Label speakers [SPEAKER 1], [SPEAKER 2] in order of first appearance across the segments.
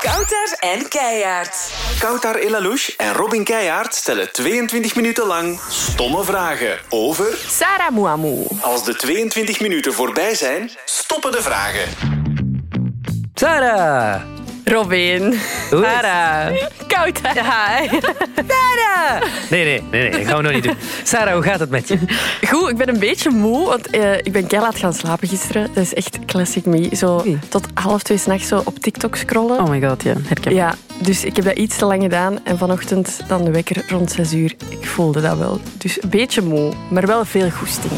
[SPEAKER 1] Kouter en Keijaard.
[SPEAKER 2] Koutar Elalouche en Robin Keijaard stellen 22 minuten lang stomme vragen over...
[SPEAKER 3] Sarah Mouamou.
[SPEAKER 2] Als de 22 minuten voorbij zijn, stoppen de vragen.
[SPEAKER 4] Sarah!
[SPEAKER 3] Robin.
[SPEAKER 4] Hoe is-
[SPEAKER 3] Sarah. Koud. Hi. Sarah.
[SPEAKER 4] Nee, nee, nee, nee, dat gaan we nog niet doen. Sarah, hoe gaat het met je?
[SPEAKER 3] Goed, ik ben een beetje moe, want eh, ik ben kei laat gaan slapen gisteren. Dat is echt classic me. Zo
[SPEAKER 4] Oei.
[SPEAKER 3] tot half twee s'nachts zo op TikTok scrollen.
[SPEAKER 5] Oh my god, ja. Herken.
[SPEAKER 3] Ja, dus ik heb dat iets te lang gedaan. En vanochtend dan de wekker rond 6 uur. Ik voelde dat wel. Dus een beetje moe, maar wel veel goesting.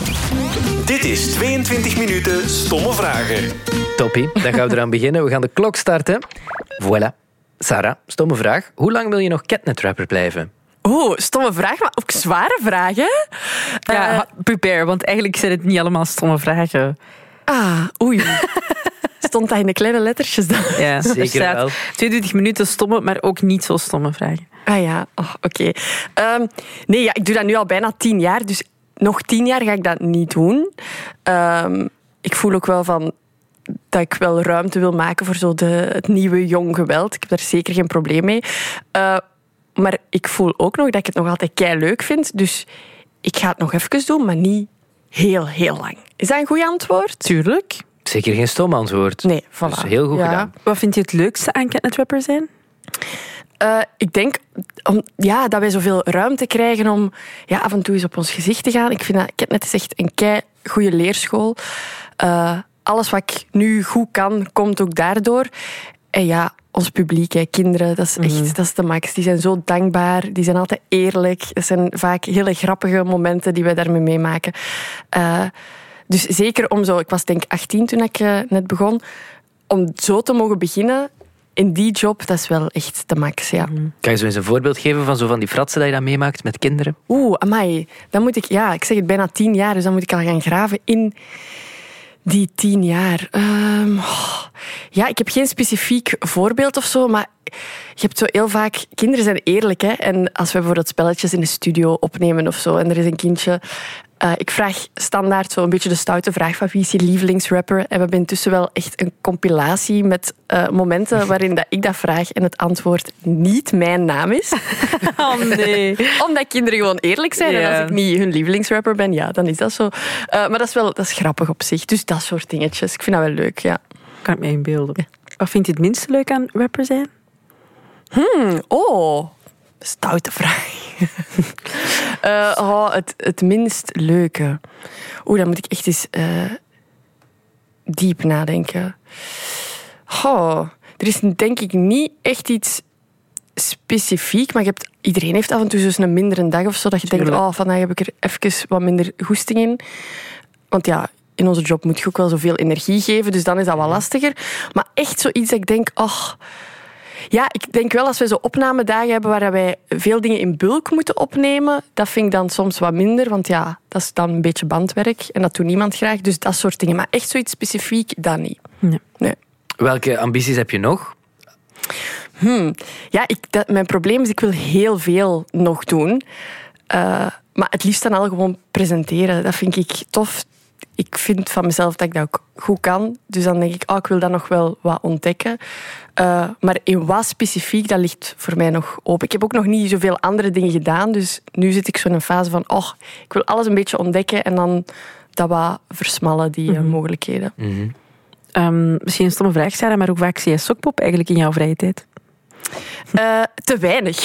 [SPEAKER 2] Dit is 22 minuten stomme vragen.
[SPEAKER 4] Toppie, dan gaan we eraan beginnen. We gaan de klok starten. Voilà. Sarah, stomme vraag. Hoe lang wil je nog catnetrapper blijven?
[SPEAKER 3] Oeh, stomme vraag, maar ook zware vragen.
[SPEAKER 5] Ja,
[SPEAKER 3] Eh,
[SPEAKER 5] ha- prepare, want eigenlijk zijn het niet allemaal stomme vragen.
[SPEAKER 3] ah, oei. Stond dat in de kleine lettertjes dan?
[SPEAKER 5] Ja, er
[SPEAKER 4] Zeker
[SPEAKER 5] Dus staat
[SPEAKER 4] wel.
[SPEAKER 5] 22 minuten stomme, maar ook niet zo stomme vragen.
[SPEAKER 3] Ah ja, oh, oké. Ehm, nee, ja, ik doe dat nu al bijna tien jaar. Dus nog tien jaar ga ik dat niet doen. Ehm, ik voel ook wel van dat ik wel ruimte wil maken voor zo de, het nieuwe jong geweld. Ik heb daar zeker geen probleem mee. Eh, maar ik voel ook nog dat ik het nog altijd kei leuk vind. Dus ik ga het nog even doen, maar niet heel, heel lang. Is dat een goed antwoord?
[SPEAKER 5] Tuurlijk.
[SPEAKER 4] Zeker geen stom antwoord.
[SPEAKER 3] Nee, voilà.
[SPEAKER 4] Dat is Dus heel goed
[SPEAKER 3] Ja.
[SPEAKER 4] gedaan.
[SPEAKER 5] Wat vind je het leukste aan catnetrapper zijn?
[SPEAKER 3] Eh, ik denk om, ja, dat wij zoveel ruimte krijgen om ja, af en toe eens op ons gezicht te gaan. Ik vind dat Catnet is echt een kei goede leerschool. Eh, alles wat ik nu goed kan, komt ook daardoor. En ja, ons publiek, hè, kinderen, dat is echt dat is de max. Die zijn zo dankbaar, die zijn altijd eerlijk. Dat zijn vaak hele grappige momenten die wij daarmee meemaken. Eh, dus zeker om zo, ik was denk ik 18 toen ik eh, net begon, om zo te mogen beginnen in die job, dat is wel echt de max, ja.
[SPEAKER 4] Kan je zo eens een voorbeeld geven van zo van die fratsen dat je dan meemaakt met kinderen?
[SPEAKER 3] Oeh, amai. Dan moet ik, ja, ik zeg het bijna tien jaar, dus dan moet ik al gaan graven in die tien jaar. Ehm, oh. ja, ik heb geen specifiek voorbeeld of zo, maar je hebt zo heel vaak... Kinderen zijn eerlijk, hè. En als we bijvoorbeeld spelletjes in de studio opnemen of zo, en er is een kindje... eh, ik vraag standaard zo een beetje de stoute vraag van wie is je lievelingsrapper? En we hebben intussen wel echt een compilatie met eh, momenten waarin dat ik dat vraag en het antwoord niet mijn naam is
[SPEAKER 5] Oh nee.
[SPEAKER 3] omdat kinderen gewoon eerlijk zijn.
[SPEAKER 5] Ja.
[SPEAKER 3] En als ik niet hun lievelingsrapper ben, ja, dan is dat zo. Eh, maar dat is wel dat is grappig op zich. Dus dat soort dingetjes. Ik vind dat wel leuk, ja.
[SPEAKER 5] kan ik me inbeelden. Wat vind je het minst leuk aan rapper zijn?
[SPEAKER 3] Oh, stoute vraag. Eh, oh, het, het minst leuke. Oeh, dan moet ik echt eens eh, diep nadenken. Oh, er is denk ik niet echt iets specifiek, maar je hebt, iedereen heeft af en toe zo'n een mindere dag of zo, dat je denkt,
[SPEAKER 5] Tuurlijk.
[SPEAKER 3] oh, vandaag heb ik er even wat minder goesting in. Want ja, in onze job moet je ook wel zoveel energie geven, dus dan is dat wel lastiger. Maar echt zoiets dat ik denk, ach... Ja, ik denk wel als we zo opnamedagen hebben waar wij veel dingen in bulk moeten opnemen, dat vind ik dan soms wat minder, want ja, dat is dan een beetje bandwerk en dat doet niemand graag. Dus dat soort dingen. Maar echt zoiets specifiek, dat niet.
[SPEAKER 4] Welke ambities heb je nog?
[SPEAKER 3] Hm. Ja, ik, dat, mijn probleem is, ik wil heel veel nog doen. Eh, maar het liefst dan al gewoon presenteren. Dat vind ik tof. Ik vind van mezelf dat ik dat ook goed kan. Dus dan denk ik, oh, ik wil dat nog wel wat ontdekken. Eh, maar in wat specifiek, dat ligt voor mij nog open. Ik heb ook nog niet zoveel andere dingen gedaan. Dus nu zit ik zo in een fase van, oh, ik wil alles een beetje ontdekken. En dan dat wat versmallen, die eh, mogelijkheden.
[SPEAKER 5] Ehm, misschien een stomme vraag, Sarah, maar hoe vaak zie jij sokpop eigenlijk in jouw vrije tijd?
[SPEAKER 3] Eh, te weinig.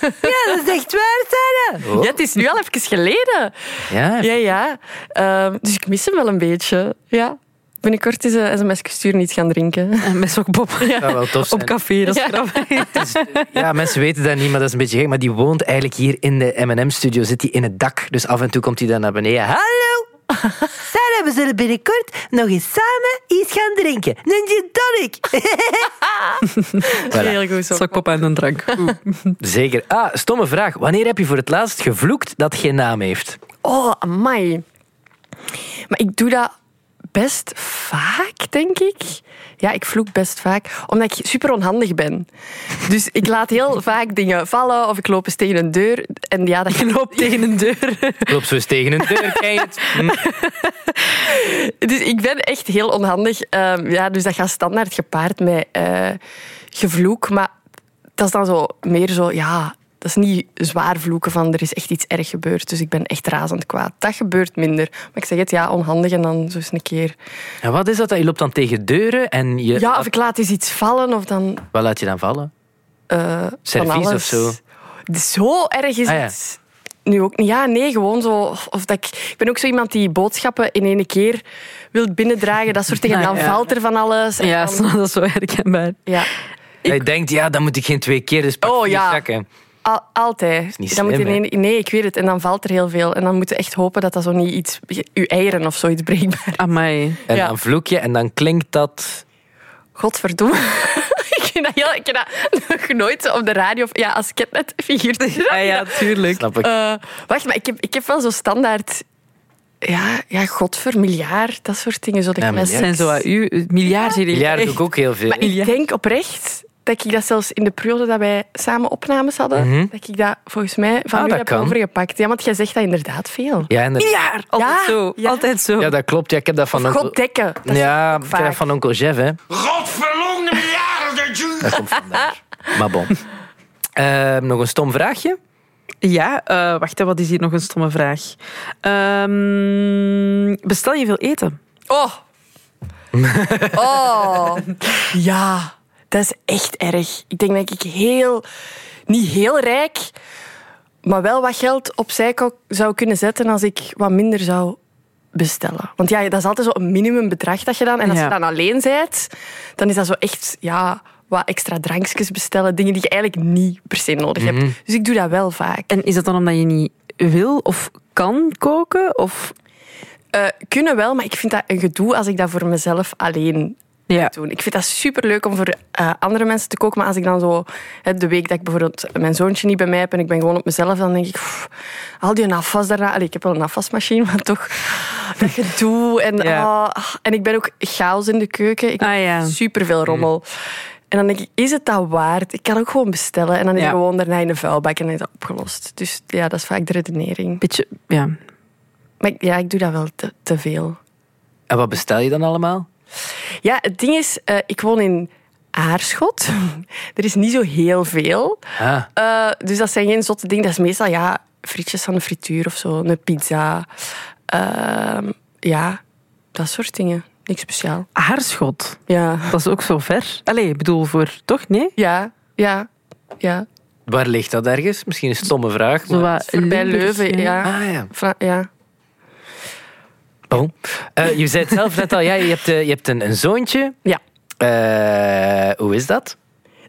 [SPEAKER 5] Ja, dat is echt waar, Sarah.
[SPEAKER 4] Oh.
[SPEAKER 3] Ja, het is nu al even geleden.
[SPEAKER 4] Ja,
[SPEAKER 3] Ja, ja. Ehm, dus ik mis hem wel een beetje. Ja. Binnenkort is een sms sturen niet gaan drinken.
[SPEAKER 5] Eh, Met sokpop.
[SPEAKER 4] dat zou wel tof zijn.
[SPEAKER 5] Op café, dat is
[SPEAKER 3] Ja.
[SPEAKER 5] grappig.
[SPEAKER 4] Ja, mensen weten dat niet, maar dat is een beetje gek. Maar die woont eigenlijk hier in de M&M-studio, zit hij in het dak. Dus af en toe komt hij dan naar beneden. Hallo! Sarah, we zullen binnenkort nog eens samen iets gaan drinken. Een gin tonic! Voilà.
[SPEAKER 3] Heel goed zo.
[SPEAKER 5] Sokpop aan een drank. Oeh.
[SPEAKER 4] Zeker. Ah, stomme vraag. Wanneer heb je voor het laatst gevloekt dat geen naam heeft?
[SPEAKER 3] Oh, amai. Maar ik doe dat best vaak, denk ik. Ja, ik vloek best vaak, omdat ik super onhandig ben. Dus ik laat heel vaak dingen vallen of ik loop eens tegen een deur. En ja, dat je loopt tegen een deur.
[SPEAKER 4] Ik loop zo eens tegen een deur, ken je het? Hm.
[SPEAKER 3] Dus ik ben echt heel onhandig. Ehm, ja, dus dat gaat standaard gepaard met eh, gevloek. Maar dat is dan zo meer zo, ja, dat is niet zwaar vloeken van er is echt iets erg gebeurd. Dus ik ben echt razend kwaad. Dat gebeurt minder. Maar ik zeg het, ja, onhandig en dan zo eens een keer.
[SPEAKER 4] En wat is dat? dan? Je loopt dan tegen deuren en je...
[SPEAKER 3] Ja, of ik laat eens iets vallen of dan
[SPEAKER 4] Wat laat je dan vallen?
[SPEAKER 3] eh van
[SPEAKER 4] Servies
[SPEAKER 3] alles.
[SPEAKER 4] of zo?
[SPEAKER 3] Zo erg is
[SPEAKER 4] Ah, ja.
[SPEAKER 3] het nu ook niet. Ja, nee, gewoon zo. Of, of dat ik, ik ben ook zo iemand die boodschappen in één keer wil binnendragen. Dat soort dingen. En dan
[SPEAKER 5] Ah, ja.
[SPEAKER 3] valt er van alles. en
[SPEAKER 5] Ja,
[SPEAKER 3] dan-
[SPEAKER 5] dat is zo herkenbaar.
[SPEAKER 3] ja.
[SPEAKER 4] Hij denkt, ja, dan moet ik geen twee keer, dus pak
[SPEAKER 3] Oh,
[SPEAKER 4] vier
[SPEAKER 3] ja.
[SPEAKER 4] zakken.
[SPEAKER 3] Al- altijd.
[SPEAKER 4] niet
[SPEAKER 3] dan
[SPEAKER 4] slim,
[SPEAKER 3] moet je in één- nee, ik weet het. En dan valt er heel veel. En dan moet je echt hopen dat dat zo niet iets... Je eieren of zoiets breekbaar.
[SPEAKER 5] Amai.
[SPEAKER 4] En
[SPEAKER 3] Ja.
[SPEAKER 4] dan vloek je en dan klinkt dat...
[SPEAKER 3] Godverdomme. ik ken dat, heel, ik ken dat nog nooit op de radio. of- Ja, als ketnetfiguur.
[SPEAKER 5] Ah ja, tuurlijk.
[SPEAKER 4] Snap ik.
[SPEAKER 3] Eh, wacht, maar ik heb, ik heb wel zo standaard... Ja, ja, godver, miljard, dat soort dingen. Zo de
[SPEAKER 4] Ja,
[SPEAKER 3] classics.
[SPEAKER 5] Dat zijn zo eh, wat u, miljard hier.
[SPEAKER 4] Miljard doe ik ook heel veel.
[SPEAKER 3] Maar ik denk oprecht dat ik dat zelfs in de periode dat wij samen opnames hadden,
[SPEAKER 4] Mhm.
[SPEAKER 3] dat ik dat volgens mij van
[SPEAKER 4] Ah,
[SPEAKER 3] u
[SPEAKER 4] dat
[SPEAKER 3] heb
[SPEAKER 4] kan.
[SPEAKER 3] overgepakt. Ja, want jij zegt dat inderdaad veel.
[SPEAKER 4] Ja, en dat-
[SPEAKER 5] Miljard. Altijd
[SPEAKER 3] Ja,
[SPEAKER 5] zo.
[SPEAKER 3] ja.
[SPEAKER 5] Altijd zo.
[SPEAKER 4] ja, dat klopt. Ja, ik heb dat van
[SPEAKER 3] Of
[SPEAKER 4] onkel...
[SPEAKER 3] goddekken. Dat is
[SPEAKER 4] Ja,
[SPEAKER 3] ook
[SPEAKER 4] ik heb
[SPEAKER 3] vaak.
[SPEAKER 4] dat van onkel Jeff, hè.
[SPEAKER 2] Godverlonde miljarden!
[SPEAKER 4] Dat komt vandaar. maar bon. Eh, nog een stom vraagje.
[SPEAKER 5] Ja, eh, wacht, hè, wat is hier nog een stomme vraag? Ehm, bestel je veel eten?
[SPEAKER 3] Oh. oh. Ja, dat is echt erg. Ik denk dat ik heel, niet heel rijk, maar wel wat geld opzij ko- zou kunnen zetten als ik wat minder zou bestellen. Want ja, dat is altijd zo'n minimumbedrag dat je dan... En als
[SPEAKER 5] Ja.
[SPEAKER 3] je dan alleen bent, dan is dat zo echt... Ja, wat extra drankjes bestellen, dingen die je eigenlijk niet per se nodig
[SPEAKER 4] Mhm.
[SPEAKER 3] hebt. Dus ik doe dat wel vaak.
[SPEAKER 5] En is dat dan omdat je niet wil of kan koken? Of...
[SPEAKER 3] Eh, kunnen wel, maar ik vind dat een gedoe als ik dat voor mezelf alleen
[SPEAKER 5] Ja.
[SPEAKER 3] doen. Ik vind dat superleuk om voor eh, andere mensen te koken. Maar als ik dan zo hè, de week dat ik bijvoorbeeld mijn zoontje niet bij mij heb en ik ben gewoon op mezelf, dan denk ik, pff, al die afwas daarna. Allee, ik heb wel een afwasmachine, maar toch dat gedoe. En,
[SPEAKER 5] Ja.
[SPEAKER 3] ah, en ik ben ook chaos in de keuken. Ik
[SPEAKER 5] Ah, ja.
[SPEAKER 3] superveel rommel. En dan denk ik, is het dat waard? Ik kan ook gewoon bestellen. En dan is
[SPEAKER 5] Ja.
[SPEAKER 3] het gewoon daarna in de vuilbak en dan is dat opgelost. Dus ja, dat is vaak de redenering.
[SPEAKER 5] Beetje, ja.
[SPEAKER 3] Maar ik- ja, ik doe dat wel te, te veel.
[SPEAKER 4] En wat bestel je dan allemaal?
[SPEAKER 3] Ja, het ding is, eh, ik woon in Aarschot. er is niet zo heel veel.
[SPEAKER 4] Ah,
[SPEAKER 3] Eh, dus dat zijn geen zotte dingen. Dat is meestal ja, frietjes van de frituur of zo, een pizza. Ehm, ja, dat soort dingen. Niks speciaal.
[SPEAKER 5] Haarschot.
[SPEAKER 3] Ja,
[SPEAKER 5] Dat is ook zo ver. Allee, ik bedoel voor... Toch? Nee?
[SPEAKER 3] ja, ja. ja.
[SPEAKER 4] waar ligt dat ergens? Misschien een stomme vraag.
[SPEAKER 5] Zo
[SPEAKER 4] maar-
[SPEAKER 5] wat
[SPEAKER 3] Bij
[SPEAKER 5] Limburgs,
[SPEAKER 3] Leuven,
[SPEAKER 5] ja.
[SPEAKER 3] ja.
[SPEAKER 4] Ah ja.
[SPEAKER 3] Fra- ja.
[SPEAKER 4] Bon. Eh, je zei het zelf net al, ja, je hebt, eh, je hebt een, een zoontje.
[SPEAKER 3] Ja.
[SPEAKER 4] Eh, hoe is dat?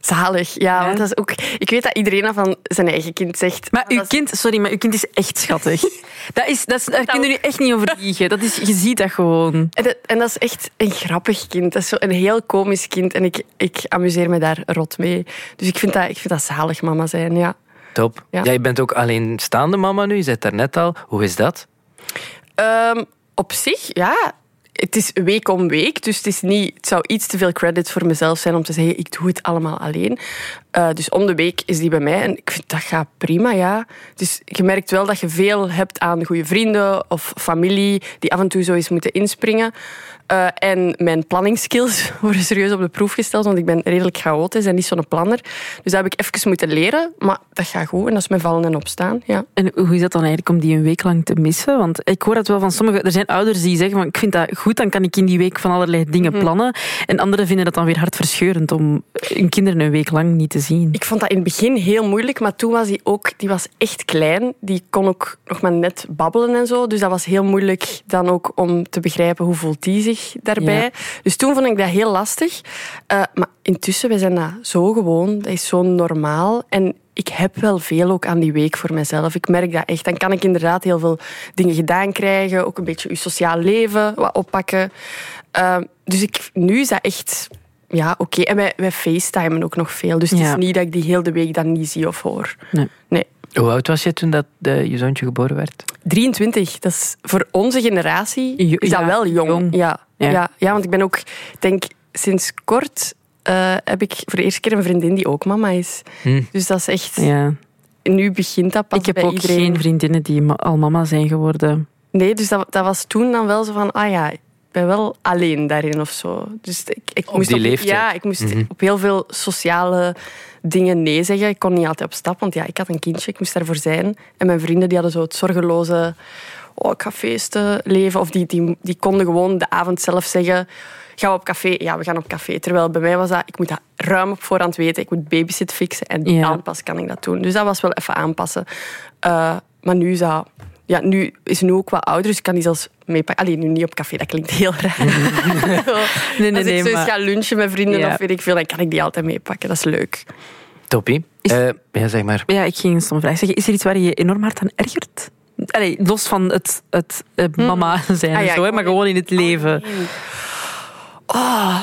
[SPEAKER 3] Zalig, ja.
[SPEAKER 5] Ja.
[SPEAKER 3] Want dat is ook, ik weet dat iedereen dat van zijn eigen kind zegt.
[SPEAKER 5] Maar uw
[SPEAKER 3] dat is-
[SPEAKER 5] kind, sorry, maar uw kind is echt schattig. Dat is, dat is, daar kunnen jullie echt niet over liegen. Dat is, je ziet dat gewoon.
[SPEAKER 3] En dat, en dat is echt een grappig kind. Dat is zo een heel komisch kind. En ik, ik amuseer me daar rot mee. Dus ik vind dat, ik vind dat zalig mama zijn, ja.
[SPEAKER 4] Top.
[SPEAKER 3] Ja.
[SPEAKER 4] Jij bent ook alleenstaande mama nu, je zei het daarnet al. Hoe is dat?
[SPEAKER 3] Ehm, op zich, ja. Het is week om week, dus het, is niet, het zou iets te veel credit voor mezelf zijn om te zeggen, ik doe het allemaal alleen. Eh, dus om de week is die bij mij en ik vind dat gaat prima, ja. Dus je merkt wel dat je veel hebt aan goede vrienden of familie die af en toe zo eens moeten inspringen. Eh, en mijn planningsskills worden serieus op de proef gesteld, want ik ben redelijk chaotisch en niet zo'n planner. Dus dat heb ik even moeten leren, maar dat gaat goed en dat is mijn vallen en opstaan, ja.
[SPEAKER 5] En hoe is dat dan eigenlijk om die een week lang te missen? Want ik hoor dat wel van sommigen. Er zijn ouders die zeggen: van, Ik vind dat goed, dan kan ik in die week van allerlei dingen
[SPEAKER 3] Mhm.
[SPEAKER 5] plannen. En anderen vinden dat dan weer hartverscheurend om hun kinderen een week lang niet te zien.
[SPEAKER 3] Ik vond dat in het begin heel moeilijk, maar toen was hij ook die was echt klein. Die kon ook nog maar net babbelen en zo. Dus dat was heel moeilijk dan ook om te begrijpen hoe voelt die zich daarbij.
[SPEAKER 5] Ja.
[SPEAKER 3] Dus toen vond ik dat heel lastig. Eh, maar intussen, we zijn dat zo gewoon. Dat is zo normaal. En ik heb wel veel ook aan die week voor mezelf. Ik merk dat echt. Dan kan ik inderdaad heel veel dingen gedaan krijgen. Ook een beetje je sociaal leven wat oppakken. Eh, dus ik, nu is dat echt... Ja, oké. En wij, wij facetimen ook nog veel. Dus het
[SPEAKER 5] Ja.
[SPEAKER 3] is niet dat ik die heel de week dan niet zie of hoor.
[SPEAKER 5] Nee.
[SPEAKER 3] Nee.
[SPEAKER 4] Hoe oud was je toen dat eh, je zoontje geboren werd?
[SPEAKER 3] 23, dat is voor onze generatie
[SPEAKER 5] Jo-
[SPEAKER 3] is dat
[SPEAKER 5] ja,
[SPEAKER 3] wel jong.
[SPEAKER 5] jong.
[SPEAKER 3] Ja,
[SPEAKER 5] Ja.
[SPEAKER 3] ja. Ja, want ik ben ook, ik denk sinds kort eh, heb ik voor de eerste keer een vriendin die ook mama is.
[SPEAKER 4] Hm.
[SPEAKER 3] Dus dat is echt,
[SPEAKER 5] Ja.
[SPEAKER 3] nu begint dat pas
[SPEAKER 5] Ik heb
[SPEAKER 3] bij
[SPEAKER 5] ook
[SPEAKER 3] iedereen.
[SPEAKER 5] geen vriendinnen die ma- al mama zijn geworden.
[SPEAKER 3] Nee, dus dat, dat was toen dan wel zo van, ah ja, ik ben wel alleen daarin of zo. Dus ik, ik
[SPEAKER 4] Op
[SPEAKER 3] moest
[SPEAKER 4] die leeftijd.
[SPEAKER 3] Ja, ik moest
[SPEAKER 4] Mhm.
[SPEAKER 3] op heel veel sociale dingen nee zeggen. Ik kon niet altijd op stap, want ja, ik had een kindje, ik moest daarvoor zijn. En mijn vrienden die hadden zo het zorgeloze, oh, ik ga feesten leven. Of die, die, die konden gewoon de avond zelf zeggen, gaan we op café? Ja, we gaan op café. Terwijl bij mij was dat, ik moet dat ruim op voorhand weten. Ik moet babysit fixen en
[SPEAKER 5] Ja.
[SPEAKER 3] dan pas kan ik dat doen. Dus dat was wel even aanpassen. Eh, maar nu is dat... Ja, nu is ze nu ook wat ouder, dus ik kan die zelfs meepakken. Alleen nu niet op café, dat klinkt heel raar.
[SPEAKER 5] Nee, nee,
[SPEAKER 3] Als
[SPEAKER 5] nee,
[SPEAKER 3] ik zo eens
[SPEAKER 5] maar-
[SPEAKER 3] ga lunchen met vrienden
[SPEAKER 5] Ja.
[SPEAKER 3] of weet ik veel, dan kan ik die altijd meepakken. Dat is leuk.
[SPEAKER 4] Toppie. Eh, ja, zeg maar.
[SPEAKER 5] Ja, ik ging zo'n vraag zeggen. Is er iets waar je je enorm hard aan ergert? Allee, los van het, het eh, mama zijn en
[SPEAKER 3] Ah ja,
[SPEAKER 5] zo, hè, maar
[SPEAKER 3] ik-
[SPEAKER 5] gewoon in het leven.
[SPEAKER 3] Oh,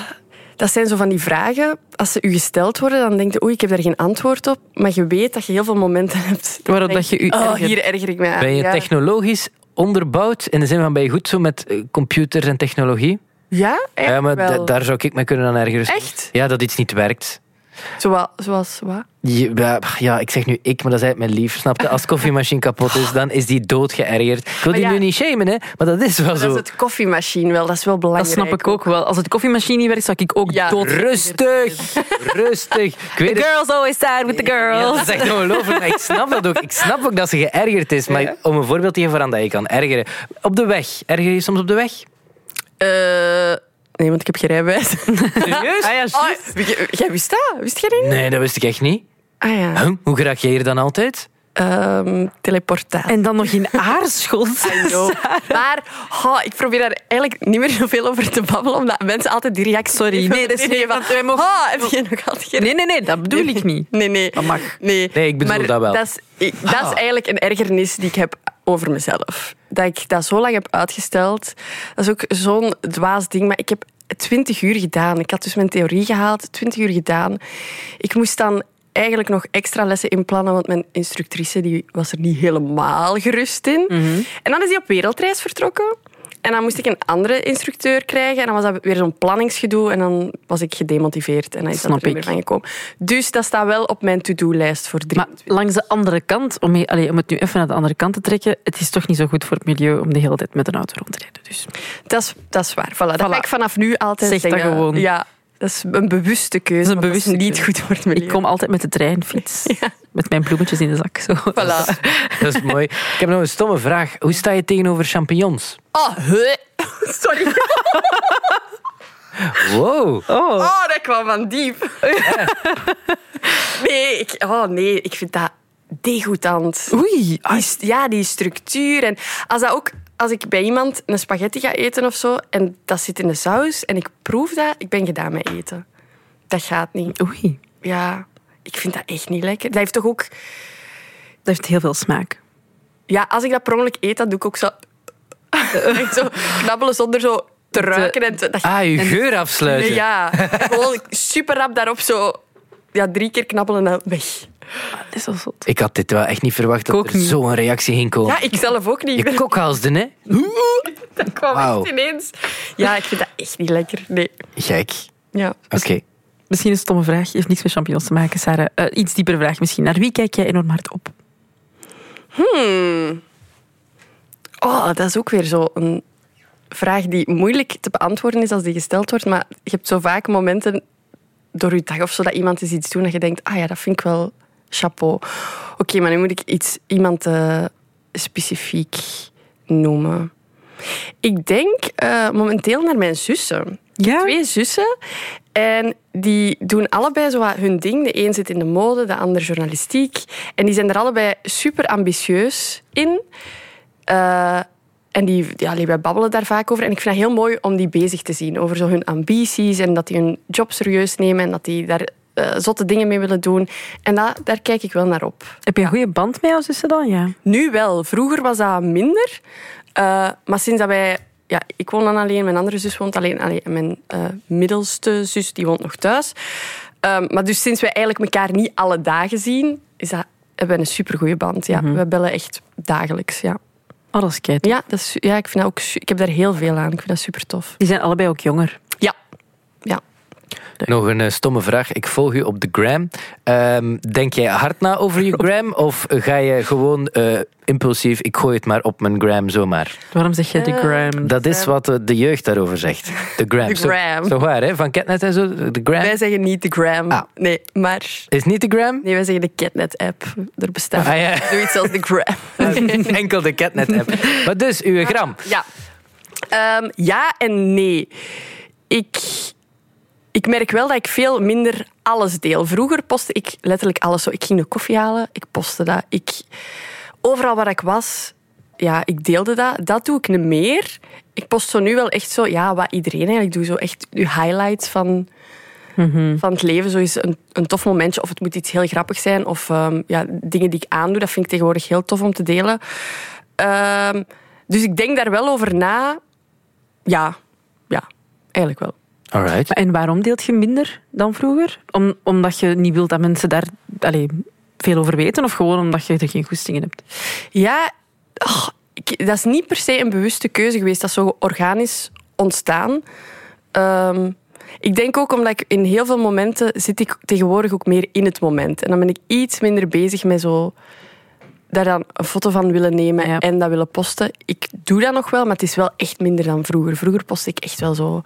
[SPEAKER 3] dat zijn zo van die vragen. Als ze u gesteld worden, dan denk je, oei, ik heb daar geen antwoord op. Maar je weet dat je heel veel momenten hebt.
[SPEAKER 5] Waarop
[SPEAKER 3] denk
[SPEAKER 5] dat je u
[SPEAKER 3] Oh,
[SPEAKER 5] ergert.
[SPEAKER 3] hier erger ik me aan.
[SPEAKER 4] Ben je
[SPEAKER 3] ja.
[SPEAKER 4] technologisch onderbouwd? In de zin van, ben je goed zo met eh, computers en technologie?
[SPEAKER 3] Ja, echt
[SPEAKER 4] ja, maar da-
[SPEAKER 3] wel.
[SPEAKER 4] daar zou ik me kunnen aan ergeren.
[SPEAKER 3] Echt?
[SPEAKER 4] Ja, dat iets niet werkt.
[SPEAKER 3] Zoals, zoals wat?
[SPEAKER 4] Je- ja, ja, ik zeg nu ik, maar dat is eigenlijk mijn lief. Snap je? Als de koffiemachine kapot is, dan is die dood geërgerd. Ik wil die
[SPEAKER 3] Maar ja.
[SPEAKER 4] nu niet shamen, hè, maar dat is wel
[SPEAKER 3] Dat is
[SPEAKER 4] zo.
[SPEAKER 3] het koffiemachine wel, dat is wel
[SPEAKER 5] Dat
[SPEAKER 3] belangrijk.
[SPEAKER 5] snap ik ook wel. Als het koffiemachine niet werkt, zou ik ook
[SPEAKER 3] Ja.
[SPEAKER 5] dood...
[SPEAKER 4] Rustig, rustig. Ik weet het.
[SPEAKER 5] Girls always side with the
[SPEAKER 4] Ja,
[SPEAKER 5] girls.
[SPEAKER 4] dat is echt ongelooflijk, maar ik snap dat ook. Ik snap ook dat ze geërgerd is. Maar om een voorbeeld te geven aan dat je kan ergeren. Op de weg. Erger je soms op de weg?
[SPEAKER 3] Eh, nee, want ik heb geen rijbewijs.
[SPEAKER 4] Serieus?
[SPEAKER 5] Ah ja,
[SPEAKER 3] Oh, jij- jij wist dat? Wist jij dat niet?
[SPEAKER 4] Nee, dat wist ik echt niet.
[SPEAKER 3] Ah ja.
[SPEAKER 4] Huh? Hoe geraak jij hier dan altijd?
[SPEAKER 3] Ehm, teleportatie.
[SPEAKER 5] En dan nog in aarschot.
[SPEAKER 3] I know. Maar oh, ik probeer daar eigenlijk niet meer zoveel over te babbelen, omdat mensen altijd die reactie...
[SPEAKER 5] Sorry, nee, dat is niet-
[SPEAKER 3] van,
[SPEAKER 5] want wij mogen-
[SPEAKER 3] "Ah, heb je nog altijd geen
[SPEAKER 5] Nee, nee, nee, dat bedoel ik niet.
[SPEAKER 3] Nee, nee. Dat
[SPEAKER 5] mag.
[SPEAKER 3] Nee,
[SPEAKER 4] Nee, ik bedoel
[SPEAKER 3] maar
[SPEAKER 4] dat wel.
[SPEAKER 3] Dat is, ik- dat is
[SPEAKER 4] Ah.
[SPEAKER 3] eigenlijk een ergernis die ik heb over mezelf. Dat ik dat zo lang heb uitgesteld. Dat is ook zo'n dwaas ding. Maar ik heb 20 uur gedaan. Ik had dus mijn theorie gehaald, 20 uur gedaan. Ik moest dan eigenlijk nog extra lessen inplannen, want mijn instructrice die was er niet helemaal gerust in.
[SPEAKER 5] Mhm.
[SPEAKER 3] En dan is die op wereldreis vertrokken. En dan moest ik een andere instructeur krijgen. En dan was dat weer zo'n planningsgedoe. En dan was ik gedemotiveerd. En dan is
[SPEAKER 5] Snap
[SPEAKER 3] dat er niet
[SPEAKER 5] ik.
[SPEAKER 3] meer van gekomen. Dus dat staat wel op mijn to-do-lijst voor drie.
[SPEAKER 5] Maar langs de andere kant, om, je- allee, om het nu even naar de andere kant te trekken, het is toch niet zo goed voor het milieu om de hele tijd met een auto rond te rijden. Dus.
[SPEAKER 3] dat, is, dat is waar. Voilà, Dat
[SPEAKER 5] Voilà.
[SPEAKER 3] ga ik vanaf nu altijd
[SPEAKER 5] Zeg dat
[SPEAKER 3] zeggen.
[SPEAKER 5] gewoon.
[SPEAKER 3] Ja, dat is een bewuste keuze.
[SPEAKER 5] Dat is een
[SPEAKER 3] want
[SPEAKER 5] bewuste
[SPEAKER 3] niet
[SPEAKER 5] keuze.
[SPEAKER 3] goed voor het milieu.
[SPEAKER 5] Ik kom altijd met de treinfiets. Met mijn bloemetjes in de zak. Zo. Dus-
[SPEAKER 3] Voilà.
[SPEAKER 4] Dat is mooi. Ik heb nog een stomme vraag. Hoe sta je tegenover champignons?
[SPEAKER 3] Oh, hè. Sorry.
[SPEAKER 4] Wow.
[SPEAKER 5] Oh.
[SPEAKER 3] Oh, dat kwam van diep. Nee, ik, oh nee, ik vind dat degoutant.
[SPEAKER 5] Oei.
[SPEAKER 3] Die st- ja, die structuur. En als, dat ook, als ik bij iemand een spaghetti ga eten of zo, en dat zit in de saus, en ik proef dat, ik ben gedaan met eten. Dat gaat niet.
[SPEAKER 5] Oei.
[SPEAKER 3] Ja, ik vind dat echt niet lekker. Dat heeft toch ook...
[SPEAKER 5] Dat heeft heel veel smaak.
[SPEAKER 3] Ja, als ik dat per ongeluk eet, dan doe ik ook zo... Echt zo knabbelen zonder zo te ruiken. En te, dat
[SPEAKER 4] Ah, je geur afsluiten.
[SPEAKER 3] Nee, ja, gewoon super rap daarop zo... Ja, drie keer knabbelen en dan weg.
[SPEAKER 5] Dat is wel zot.
[SPEAKER 4] Ik had dit wel echt niet verwacht
[SPEAKER 5] Ik ook
[SPEAKER 4] dat er
[SPEAKER 5] niet.
[SPEAKER 4] zo'n reactie ging komen.
[SPEAKER 3] Ja, ik zelf ook niet. Ik
[SPEAKER 4] Je
[SPEAKER 3] ben-
[SPEAKER 4] kokhalsden, hè?
[SPEAKER 3] Dat kwam
[SPEAKER 4] Wauw.
[SPEAKER 3] echt ineens. Ja, ik vind dat echt niet lekker. Nee.
[SPEAKER 4] Gek.
[SPEAKER 3] Ja.
[SPEAKER 4] Oké.
[SPEAKER 5] Misschien een stomme vraag. Heeft niks met champignons te maken, Sarah. Eh, iets diepere vraag misschien. Naar wie kijk jij enorm hard op?
[SPEAKER 3] Oh, dat is ook weer zo'n vraag die moeilijk te beantwoorden is als die gesteld wordt. Maar je hebt zo vaak momenten door je dag of zo dat iemand eens iets doet dat je denkt, ah ja, dat vind ik wel chapeau. Oké, maar nu moet ik iets, iemand eh, specifiek noemen. Ik denk eh, momenteel naar mijn zussen.
[SPEAKER 5] Ja?
[SPEAKER 3] Twee zussen. En die doen allebei zo wat hun ding. De een zit in de mode, de ander journalistiek. En die zijn er allebei super ambitieus in. Eh, en die, ja, die- wij babbelen daar vaak over. En ik vind dat heel mooi om die bezig te zien. Over zo hun ambities en dat die hun job serieus nemen. En dat die daar eh, zotte dingen mee willen doen. En dat, daar kijk ik wel naar op.
[SPEAKER 5] Heb je een goede band met jouw zussen dan? Ja.
[SPEAKER 3] Nu wel. Vroeger was dat minder. Eh, maar sinds dat wij... Ja, ik woon dan alleen, mijn andere zus woont alleen. alleen en mijn eh, middelste zus die woont nog thuis. Ehm, maar dus sinds wij eigenlijk elkaar niet alle dagen zien, is dat eh, hebben we een supergoeie band. Ja. We bellen echt dagelijks. Ja,
[SPEAKER 5] Oh, dat is kei tof.
[SPEAKER 3] ja, dat is, ja ik, vind dat ook, su- ik heb daar heel veel aan. Ik vind dat super tof.
[SPEAKER 5] Die zijn allebei ook jonger.
[SPEAKER 3] Ja. ja.
[SPEAKER 4] Nog een eh, stomme vraag. Ik volg u op de gram. Ehm, denk jij hard na over je gram? Of ga je gewoon eh, impulsief, ik gooi het maar op mijn gram zomaar?
[SPEAKER 5] Waarom zeg jij de
[SPEAKER 3] Eh,
[SPEAKER 5] gram?
[SPEAKER 4] Dat is wat eh, de jeugd daarover zegt. De gram.
[SPEAKER 3] De gram.
[SPEAKER 4] Zo, zo waar, hè? Van Catnet en zo. De
[SPEAKER 3] Wij
[SPEAKER 4] gram.
[SPEAKER 3] zeggen niet de gram.
[SPEAKER 4] Ah.
[SPEAKER 3] Nee, maar...
[SPEAKER 4] Is niet de gram?
[SPEAKER 3] Nee, wij zeggen de Catnet-app. Er bestaat
[SPEAKER 4] Ah, ja.
[SPEAKER 3] zoiets als de gram.
[SPEAKER 4] Enkel de Catnet-app. Maar dus, uw gram.
[SPEAKER 3] Ja. Ehm, ja en nee. Ik, ik merk wel dat ik veel minder alles deel. Vroeger postte ik letterlijk alles. Zo, ik ging de koffie halen, ik postte dat. Ik, overal waar ik was, ja, ik deelde dat. Dat doe ik niet meer. Ik post zo nu wel echt zo, ja, wat iedereen eigenlijk doet. Zo echt uw highlights van, van het leven. Zo is een, een tof momentje. Of het moet iets heel grappig zijn. Of ehm, ja, dingen die ik aandoe. Dat vind ik tegenwoordig heel tof om te delen. Ehm, dus ik denk daar wel over na. Ja, ja, eigenlijk wel.
[SPEAKER 4] Alright.
[SPEAKER 5] En waarom deelt je minder dan vroeger? Om, omdat je niet wilt dat mensen daar allee, veel over weten? Of gewoon omdat je er geen goesting in hebt?
[SPEAKER 3] Ja, och, ik- dat is niet per se een bewuste keuze geweest. Dat is zo organisch ontstaan. Ehm, ik denk ook omdat ik in heel veel momenten zit ik tegenwoordig ook meer in het moment. En dan ben ik iets minder bezig met zo daar dan een foto van willen nemen
[SPEAKER 5] Ja.
[SPEAKER 3] en dat willen posten. Ik doe dat nog wel, maar het is wel echt minder dan vroeger. Vroeger postte ik echt wel zo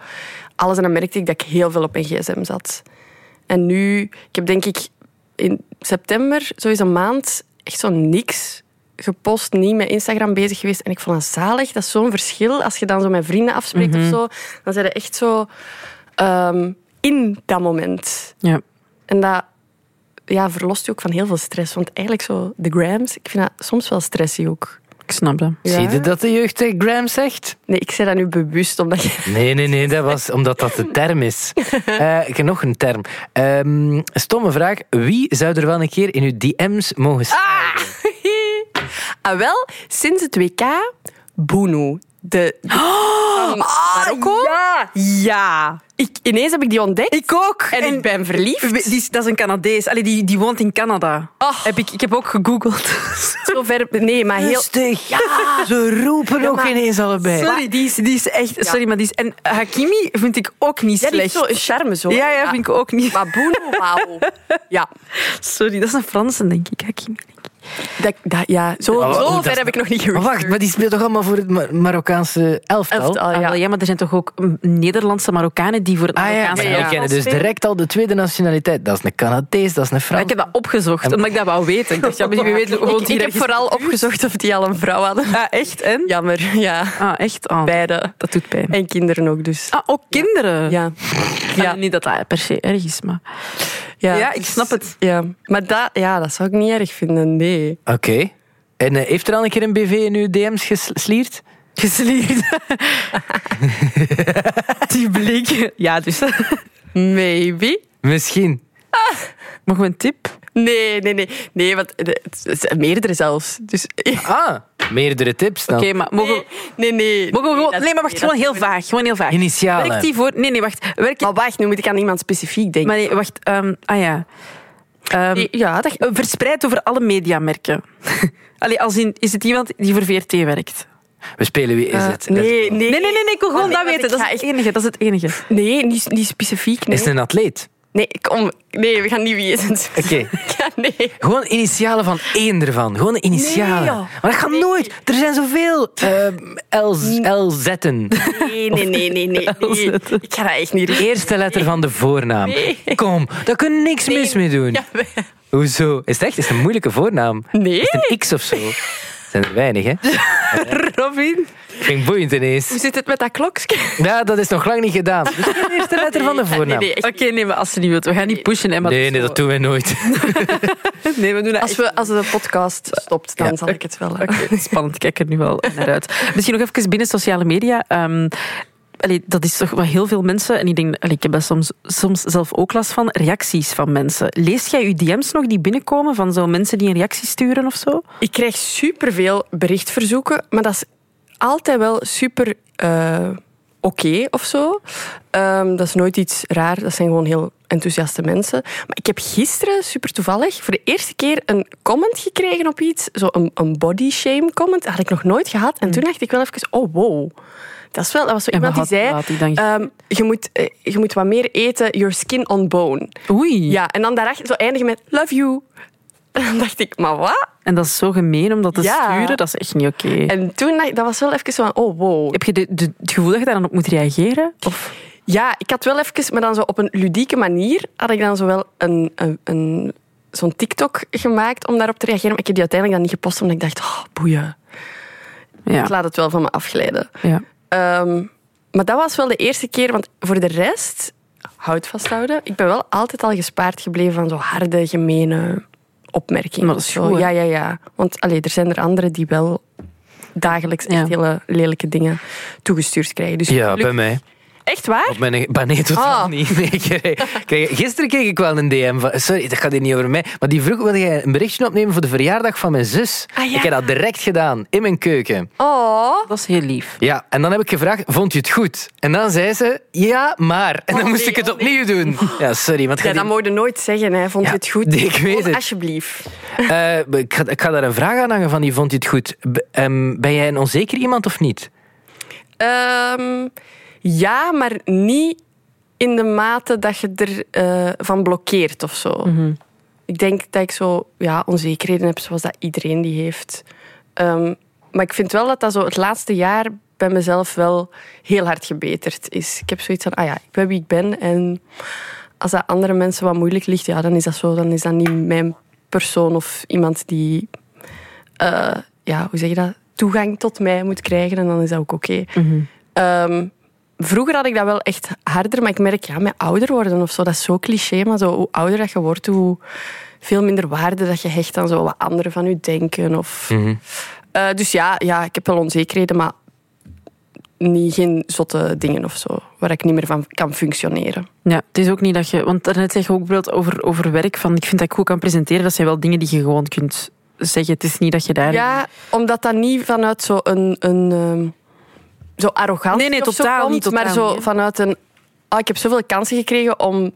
[SPEAKER 3] alles en dan merkte ik dat ik heel veel op mijn gsm zat. En nu, ik heb denk ik in september, zo is een maand, echt zo niks gepost, niet met Instagram bezig geweest. En ik vond dat zalig. Dat is zo'n verschil. Als je dan zo met vrienden afspreekt
[SPEAKER 4] Mhm.
[SPEAKER 3] of zo, dan zijn er echt zo ehm, in dat moment.
[SPEAKER 5] Ja.
[SPEAKER 3] En dat ja, verlost je ook van heel veel stress. Want eigenlijk zo, de grams, ik vind dat soms wel stressy ook.
[SPEAKER 5] Ik snap dat.
[SPEAKER 3] Ja.
[SPEAKER 4] Zie je dat de jeugd de gram zegt?
[SPEAKER 3] Nee, ik zei dat nu bewust, omdat je...
[SPEAKER 4] Nee, nee, nee, dat was omdat dat de term is. Eh, ik heb nog een term. Ehm, stomme vraag. Wie zou er wel een keer in uw DM's mogen staan?
[SPEAKER 3] Ah, wel, sinds het WK, Bunu. De, de van Marokko.
[SPEAKER 5] Ja! Ja!
[SPEAKER 3] Ik, ineens heb ik die ontdekt.
[SPEAKER 5] Ik ook!
[SPEAKER 3] en, ik ben verliefd.
[SPEAKER 5] We- Die, is- dat is een Canadees. Allee, die, die woont in Canada.
[SPEAKER 3] Oh.
[SPEAKER 5] Heb ik, ik heb ook gegoogeld.
[SPEAKER 3] Zo ver, nee, maar heel...
[SPEAKER 4] Rustig. Ja, ze roepen ook
[SPEAKER 3] maar-
[SPEAKER 4] ineens allebei.
[SPEAKER 5] Sorry, die is, die is echt... Sorry, maar die is... En Hakimi vind ik ook niet
[SPEAKER 3] Ja, die heeft
[SPEAKER 5] slecht.
[SPEAKER 3] zo een charme zo.
[SPEAKER 5] ja, ja, vind ik ook niet.
[SPEAKER 3] Maar Boeno, wauw. Ja,
[SPEAKER 5] Sorry, dat is een Franse, denk ik. Hakimi.
[SPEAKER 3] dat, dat- ja. zo,
[SPEAKER 4] Oh,
[SPEAKER 3] zo
[SPEAKER 4] oh, dat
[SPEAKER 3] ver
[SPEAKER 4] is-
[SPEAKER 3] heb ik nog niet
[SPEAKER 4] Maar
[SPEAKER 3] geweest.
[SPEAKER 4] wacht, maar die speelt toch allemaal voor het Ma- Marokkaanse elftal?
[SPEAKER 3] Elftal, ja.
[SPEAKER 5] Ah, wel, ja, maar er zijn toch ook mm, Nederlandse Marokkanen die voor het
[SPEAKER 4] Ah ja, maar
[SPEAKER 5] Marokkaanse
[SPEAKER 3] ja.
[SPEAKER 4] we
[SPEAKER 5] elftal
[SPEAKER 4] kennen dus
[SPEAKER 5] spelen?
[SPEAKER 4] direct al de tweede nationaliteit. Dat is een Canadees, dat is een
[SPEAKER 5] Maar
[SPEAKER 4] Frans.
[SPEAKER 5] Ik heb dat opgezocht, omdat ik dat wou weten. Ik dacht, ja, maar wie weet
[SPEAKER 3] Ik,
[SPEAKER 5] woont
[SPEAKER 3] ik
[SPEAKER 5] hier
[SPEAKER 3] heb vooral opgezocht of die al een vrouw hadden.
[SPEAKER 5] Ah, echt, en?
[SPEAKER 3] Jammer, ja.
[SPEAKER 5] Ah, echt? Ah,
[SPEAKER 3] Beide.
[SPEAKER 5] Dat doet pijn.
[SPEAKER 3] En kinderen ook dus.
[SPEAKER 5] Ah, ook kinderen?
[SPEAKER 3] Ja.
[SPEAKER 5] Ja, niet dat dat per se erg is, maar...
[SPEAKER 3] Ja,
[SPEAKER 5] Ja, ik snap het.
[SPEAKER 3] Ja. Maar dat, ja, dat zou ik niet erg vinden, nee.
[SPEAKER 4] Oké. En eh, heeft er al een keer een BV in uw DM's geslierd?
[SPEAKER 5] Geslierd. Die blik. Ja, dus...
[SPEAKER 3] Maybe.
[SPEAKER 4] Misschien.
[SPEAKER 5] Mogen we een tip?
[SPEAKER 3] Nee, nee, nee. Nee, want de- het is meerdere zelfs. Dus... Oké,
[SPEAKER 4] Ah, meerdere tips dan.
[SPEAKER 5] Oké, maar mogen we...
[SPEAKER 3] nee, nee, nee.
[SPEAKER 5] Mogen we gewoon...
[SPEAKER 3] dat-
[SPEAKER 5] Nee, maar wacht,
[SPEAKER 3] dat-
[SPEAKER 5] gewoon heel vaag. Gewoon heel vaag.
[SPEAKER 4] Initialen.
[SPEAKER 5] Werkt die voor... Nee, nee, wacht. Werkt...
[SPEAKER 3] Maar wacht, nu moet ik aan iemand specifiek denken.
[SPEAKER 5] Maar nee, wacht. ehm, ah ja. Ehm,
[SPEAKER 3] Nee, ja, dat...
[SPEAKER 5] eh, Verspreid over alle mediamerken. Allee, als in, is het iemand die voor VRT werkt?
[SPEAKER 4] We spelen Wie is
[SPEAKER 3] Eh,
[SPEAKER 4] het?
[SPEAKER 3] nee, nee,
[SPEAKER 5] Nee, nee, nee, nee ik wil gewoon
[SPEAKER 3] Maar nee,
[SPEAKER 5] dat
[SPEAKER 3] want
[SPEAKER 5] weten.
[SPEAKER 3] ik
[SPEAKER 5] Dat is
[SPEAKER 3] ga
[SPEAKER 5] het enige. Dat is het enige.
[SPEAKER 3] Nee, niet, niet specifiek. Nee.
[SPEAKER 4] Is het een atleet?
[SPEAKER 3] nee, kom. Nee, we gaan niet wie is het.
[SPEAKER 4] Oké.
[SPEAKER 3] Ja, nee.
[SPEAKER 4] Gewoon initialen van één ervan. Gewoon initialen.
[SPEAKER 3] Nee, joh.
[SPEAKER 4] maar dat gaat nooit. Er zijn zoveel eh, L's, Lzetten.
[SPEAKER 3] Nee, nee, nee, nee, nee. nee. Ik ga dat echt niet doen.
[SPEAKER 4] Eerste letter van de voornaam. Kom, daar kun je niks mis mee doen. Hoezo? Is het echt? Is het een moeilijke voornaam?
[SPEAKER 3] Nee.
[SPEAKER 4] Is het een X of zo? Zijn er weinig, hè?
[SPEAKER 3] Robin,
[SPEAKER 4] Ging boeiend ineens.
[SPEAKER 3] hoe zit het met dat klokje?
[SPEAKER 4] Ja, dat is nog lang niet gedaan. Dus geen eerste letter van de voornaam.
[SPEAKER 3] nee,
[SPEAKER 4] Nee,
[SPEAKER 3] echt
[SPEAKER 5] Oké, nee, maar als ze niet wilt. We gaan niet pushen, Emma.
[SPEAKER 4] nee, dat doen wij nooit.
[SPEAKER 5] Nee, we doen dat
[SPEAKER 3] Als, we, als de podcast stopt, dan
[SPEAKER 4] Ja.
[SPEAKER 3] zal ik het wel.
[SPEAKER 5] Oké, spannend. Ik Kijk er nu wel naar uit. Misschien nog even binnen sociale media. Ehm, allee, dat is toch wel heel veel mensen. En ik denk, allee, ik heb daar soms, soms zelf ook last van. Reacties van mensen. Leest jij uw DM's nog die binnenkomen van zo mensen die een reactie sturen of zo?
[SPEAKER 3] Ik krijg superveel berichtverzoeken, maar dat is altijd wel super eh, oké of zo. Ehm, dat is nooit iets raar, dat zijn gewoon heel enthousiaste mensen. Maar ik heb gisteren, super toevallig, voor de eerste keer een comment gekregen op iets. Zo een, een body shame comment. Dat had ik nog nooit gehad. En toen dacht ik wel even, oh wow. Dat, is wel, dat was zo
[SPEAKER 5] Hmm. En
[SPEAKER 3] iemand die zei,
[SPEAKER 5] wat had- wat had die dan
[SPEAKER 3] ehm, je, moet, eh, je moet wat meer eten, your skin on bone.
[SPEAKER 5] Oei.
[SPEAKER 3] Ja, en dan daarachter zo eindigen met, love you. En dan dacht ik, maar wat?
[SPEAKER 5] En dat is zo gemeen om dat te
[SPEAKER 3] Ja.
[SPEAKER 5] sturen. Dat is echt niet oké.
[SPEAKER 3] En toen, dacht ik- dat was wel even zo van, oh wow.
[SPEAKER 5] Heb je de, de- het gevoel dat je daar dan op moet reageren? Of
[SPEAKER 3] Ja, ik had wel even, maar dan zo op een ludieke manier, had ik dan zo wel een, een, een- zo'n TikTok gemaakt om daarop te reageren. Maar ik heb die uiteindelijk dan niet gepost, omdat ik dacht, oh, boeien. Ik
[SPEAKER 5] ja.
[SPEAKER 3] laat het wel van me afglijden.
[SPEAKER 5] ja.
[SPEAKER 3] Ehm, maar dat was wel de eerste keer, want voor de rest, houd vasthouden, ik ben wel altijd al gespaard gebleven van zo harde, gemene opmerkingen.
[SPEAKER 5] Maar dat is
[SPEAKER 3] Zo,
[SPEAKER 5] goed, hè?
[SPEAKER 3] Ja, ja, ja. Want allee, er zijn er anderen die wel dagelijks echt
[SPEAKER 5] Ja.
[SPEAKER 3] hele lelijke dingen toegestuurd krijgen. Dus
[SPEAKER 4] Ja,
[SPEAKER 3] geluk-
[SPEAKER 4] bij mij.
[SPEAKER 3] Echt waar?
[SPEAKER 4] Op mijn, maar nee, totaal
[SPEAKER 3] Ah.
[SPEAKER 4] niet. Nee, ik kreeg- kreeg- gisteren kreeg ik wel een DM van... Sorry, dat gaat hier niet over mij. Maar die vroeg, wil jij een berichtje opnemen voor de verjaardag van mijn zus?
[SPEAKER 3] Ah, ja.
[SPEAKER 4] Ik heb dat direct gedaan, in mijn keuken.
[SPEAKER 3] Oh.
[SPEAKER 5] Dat is heel lief.
[SPEAKER 4] Ja, en dan heb ik gevraagd, vond je het goed? En dan zei ze, ja, maar. En dan
[SPEAKER 3] Oh,
[SPEAKER 4] moest
[SPEAKER 3] nee,
[SPEAKER 4] ik het
[SPEAKER 3] oh, nee.
[SPEAKER 4] opnieuw doen. Ja, sorry. Want
[SPEAKER 3] Ja, dat moet je nooit zeggen. Hè. Vond
[SPEAKER 4] Ja,
[SPEAKER 3] je het goed?
[SPEAKER 4] ik weet
[SPEAKER 3] Gewoon
[SPEAKER 4] het.
[SPEAKER 3] Alsjeblieft.
[SPEAKER 4] Eh, ik, ga, ik ga daar een vraag aan hangen van die vond je het goed. B- ehm, ben jij een onzeker iemand of niet?
[SPEAKER 3] Ehm, ja, maar niet in de mate dat je ervan van blokkeert of zo. Ik denk dat ik zo ja, onzekerheden heb zoals dat iedereen die heeft. Ehm, maar ik vind wel dat dat zo het laatste jaar bij mezelf wel heel hard gebeterd is. Ik heb zoiets van, ah ja, ik ben wie ik ben. En als dat andere mensen wat moeilijk ligt, ja, dan is dat zo. Dan is dat niet mijn persoon of iemand die eh, ja, hoe zeg je dat, toegang tot mij moet krijgen. En dan is dat ook oké. Ehm, vroeger had ik dat wel echt harder, maar ik merk, ja, met ouder worden of zo, dat is zo cliché. Maar zo, hoe ouder dat je wordt, hoe veel minder waarde dat je hecht aan zo wat anderen van je denken. Of,
[SPEAKER 5] Mhm.
[SPEAKER 3] Eh, dus ja, ja, ik heb wel onzekerheden, maar niet, geen zotte dingen of zo, waar ik niet meer van kan functioneren.
[SPEAKER 5] Ja, het is ook niet dat je... Want daarnet zeg je ook bijvoorbeeld over, over werk. Van, ik vind dat ik goed kan presenteren. Dat zijn wel dingen die je gewoon kunt zeggen. Het is niet dat je daar...
[SPEAKER 3] Ja, omdat dat niet vanuit zo'n een, een, ehm, zo arrogant
[SPEAKER 5] Nee, nee,
[SPEAKER 3] of zo
[SPEAKER 5] totaal
[SPEAKER 3] komt,
[SPEAKER 5] niet, totaal
[SPEAKER 3] maar zo
[SPEAKER 5] niet, hè.
[SPEAKER 3] vanuit een... ah ik heb zoveel kansen gekregen om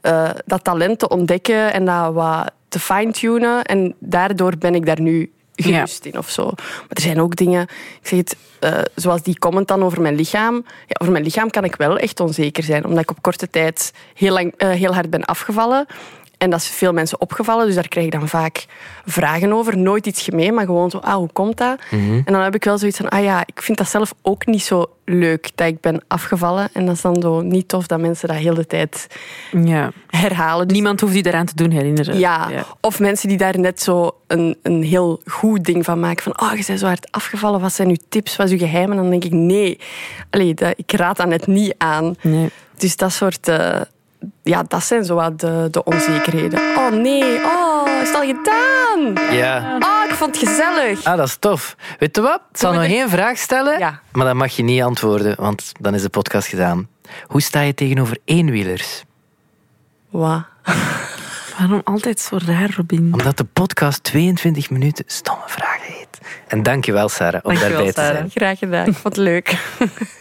[SPEAKER 3] eh, dat talent te ontdekken en dat wat te fine-tunen. En daardoor ben ik daar nu gerust in of zo. Maar er zijn ook dingen... Ik zeg het, eh, zoals die comment dan over mijn lichaam. Ja, over mijn lichaam kan ik wel echt onzeker zijn. Omdat ik op korte tijd heel, lang, eh, heel hard ben afgevallen. En dat is veel mensen opgevallen. Dus daar krijg ik dan vaak vragen over. Nooit iets gemeen, maar gewoon zo... Ah, hoe komt dat? En dan heb ik wel zoiets van... Ah ja, ik vind dat zelf ook niet zo leuk dat ik ben afgevallen. En dat is dan zo niet tof dat mensen dat heel de tijd
[SPEAKER 5] Ja.
[SPEAKER 3] herhalen. Dus
[SPEAKER 5] Niemand hoeft je daaraan te doen herinneren.
[SPEAKER 3] ja. Of mensen die daar net zo een, een heel goed ding van maken. Van, oh, je bent zo hard afgevallen. Wat zijn uw tips? Wat is uw geheim? En dan denk ik, nee. Allee, dat, ik raad dat net niet aan.
[SPEAKER 5] Nee.
[SPEAKER 3] Dus dat soort... eh, ja, dat zijn zo wat de, de onzekerheden. Oh, nee. Oh, is het al gedaan?
[SPEAKER 4] Ja.
[SPEAKER 3] Oh, ik vond het gezellig.
[SPEAKER 4] Ah, dat is tof. Weet je wat? Ik zal
[SPEAKER 3] Doe
[SPEAKER 4] nog
[SPEAKER 3] het-
[SPEAKER 4] één vraag stellen,
[SPEAKER 3] Ja.
[SPEAKER 4] maar dan mag je niet antwoorden, want dan is de podcast gedaan. Hoe sta je tegenover eenwielers?
[SPEAKER 3] Wat?
[SPEAKER 5] Waarom altijd zo raar, Robin?
[SPEAKER 4] Omdat de podcast 22 minuten stomme vragen heet. En dankjewel, Sarah, om
[SPEAKER 5] Dankjewel,
[SPEAKER 4] daarbij te
[SPEAKER 5] Sarah.
[SPEAKER 4] zijn.
[SPEAKER 3] Graag gedaan. Ik vond het leuk.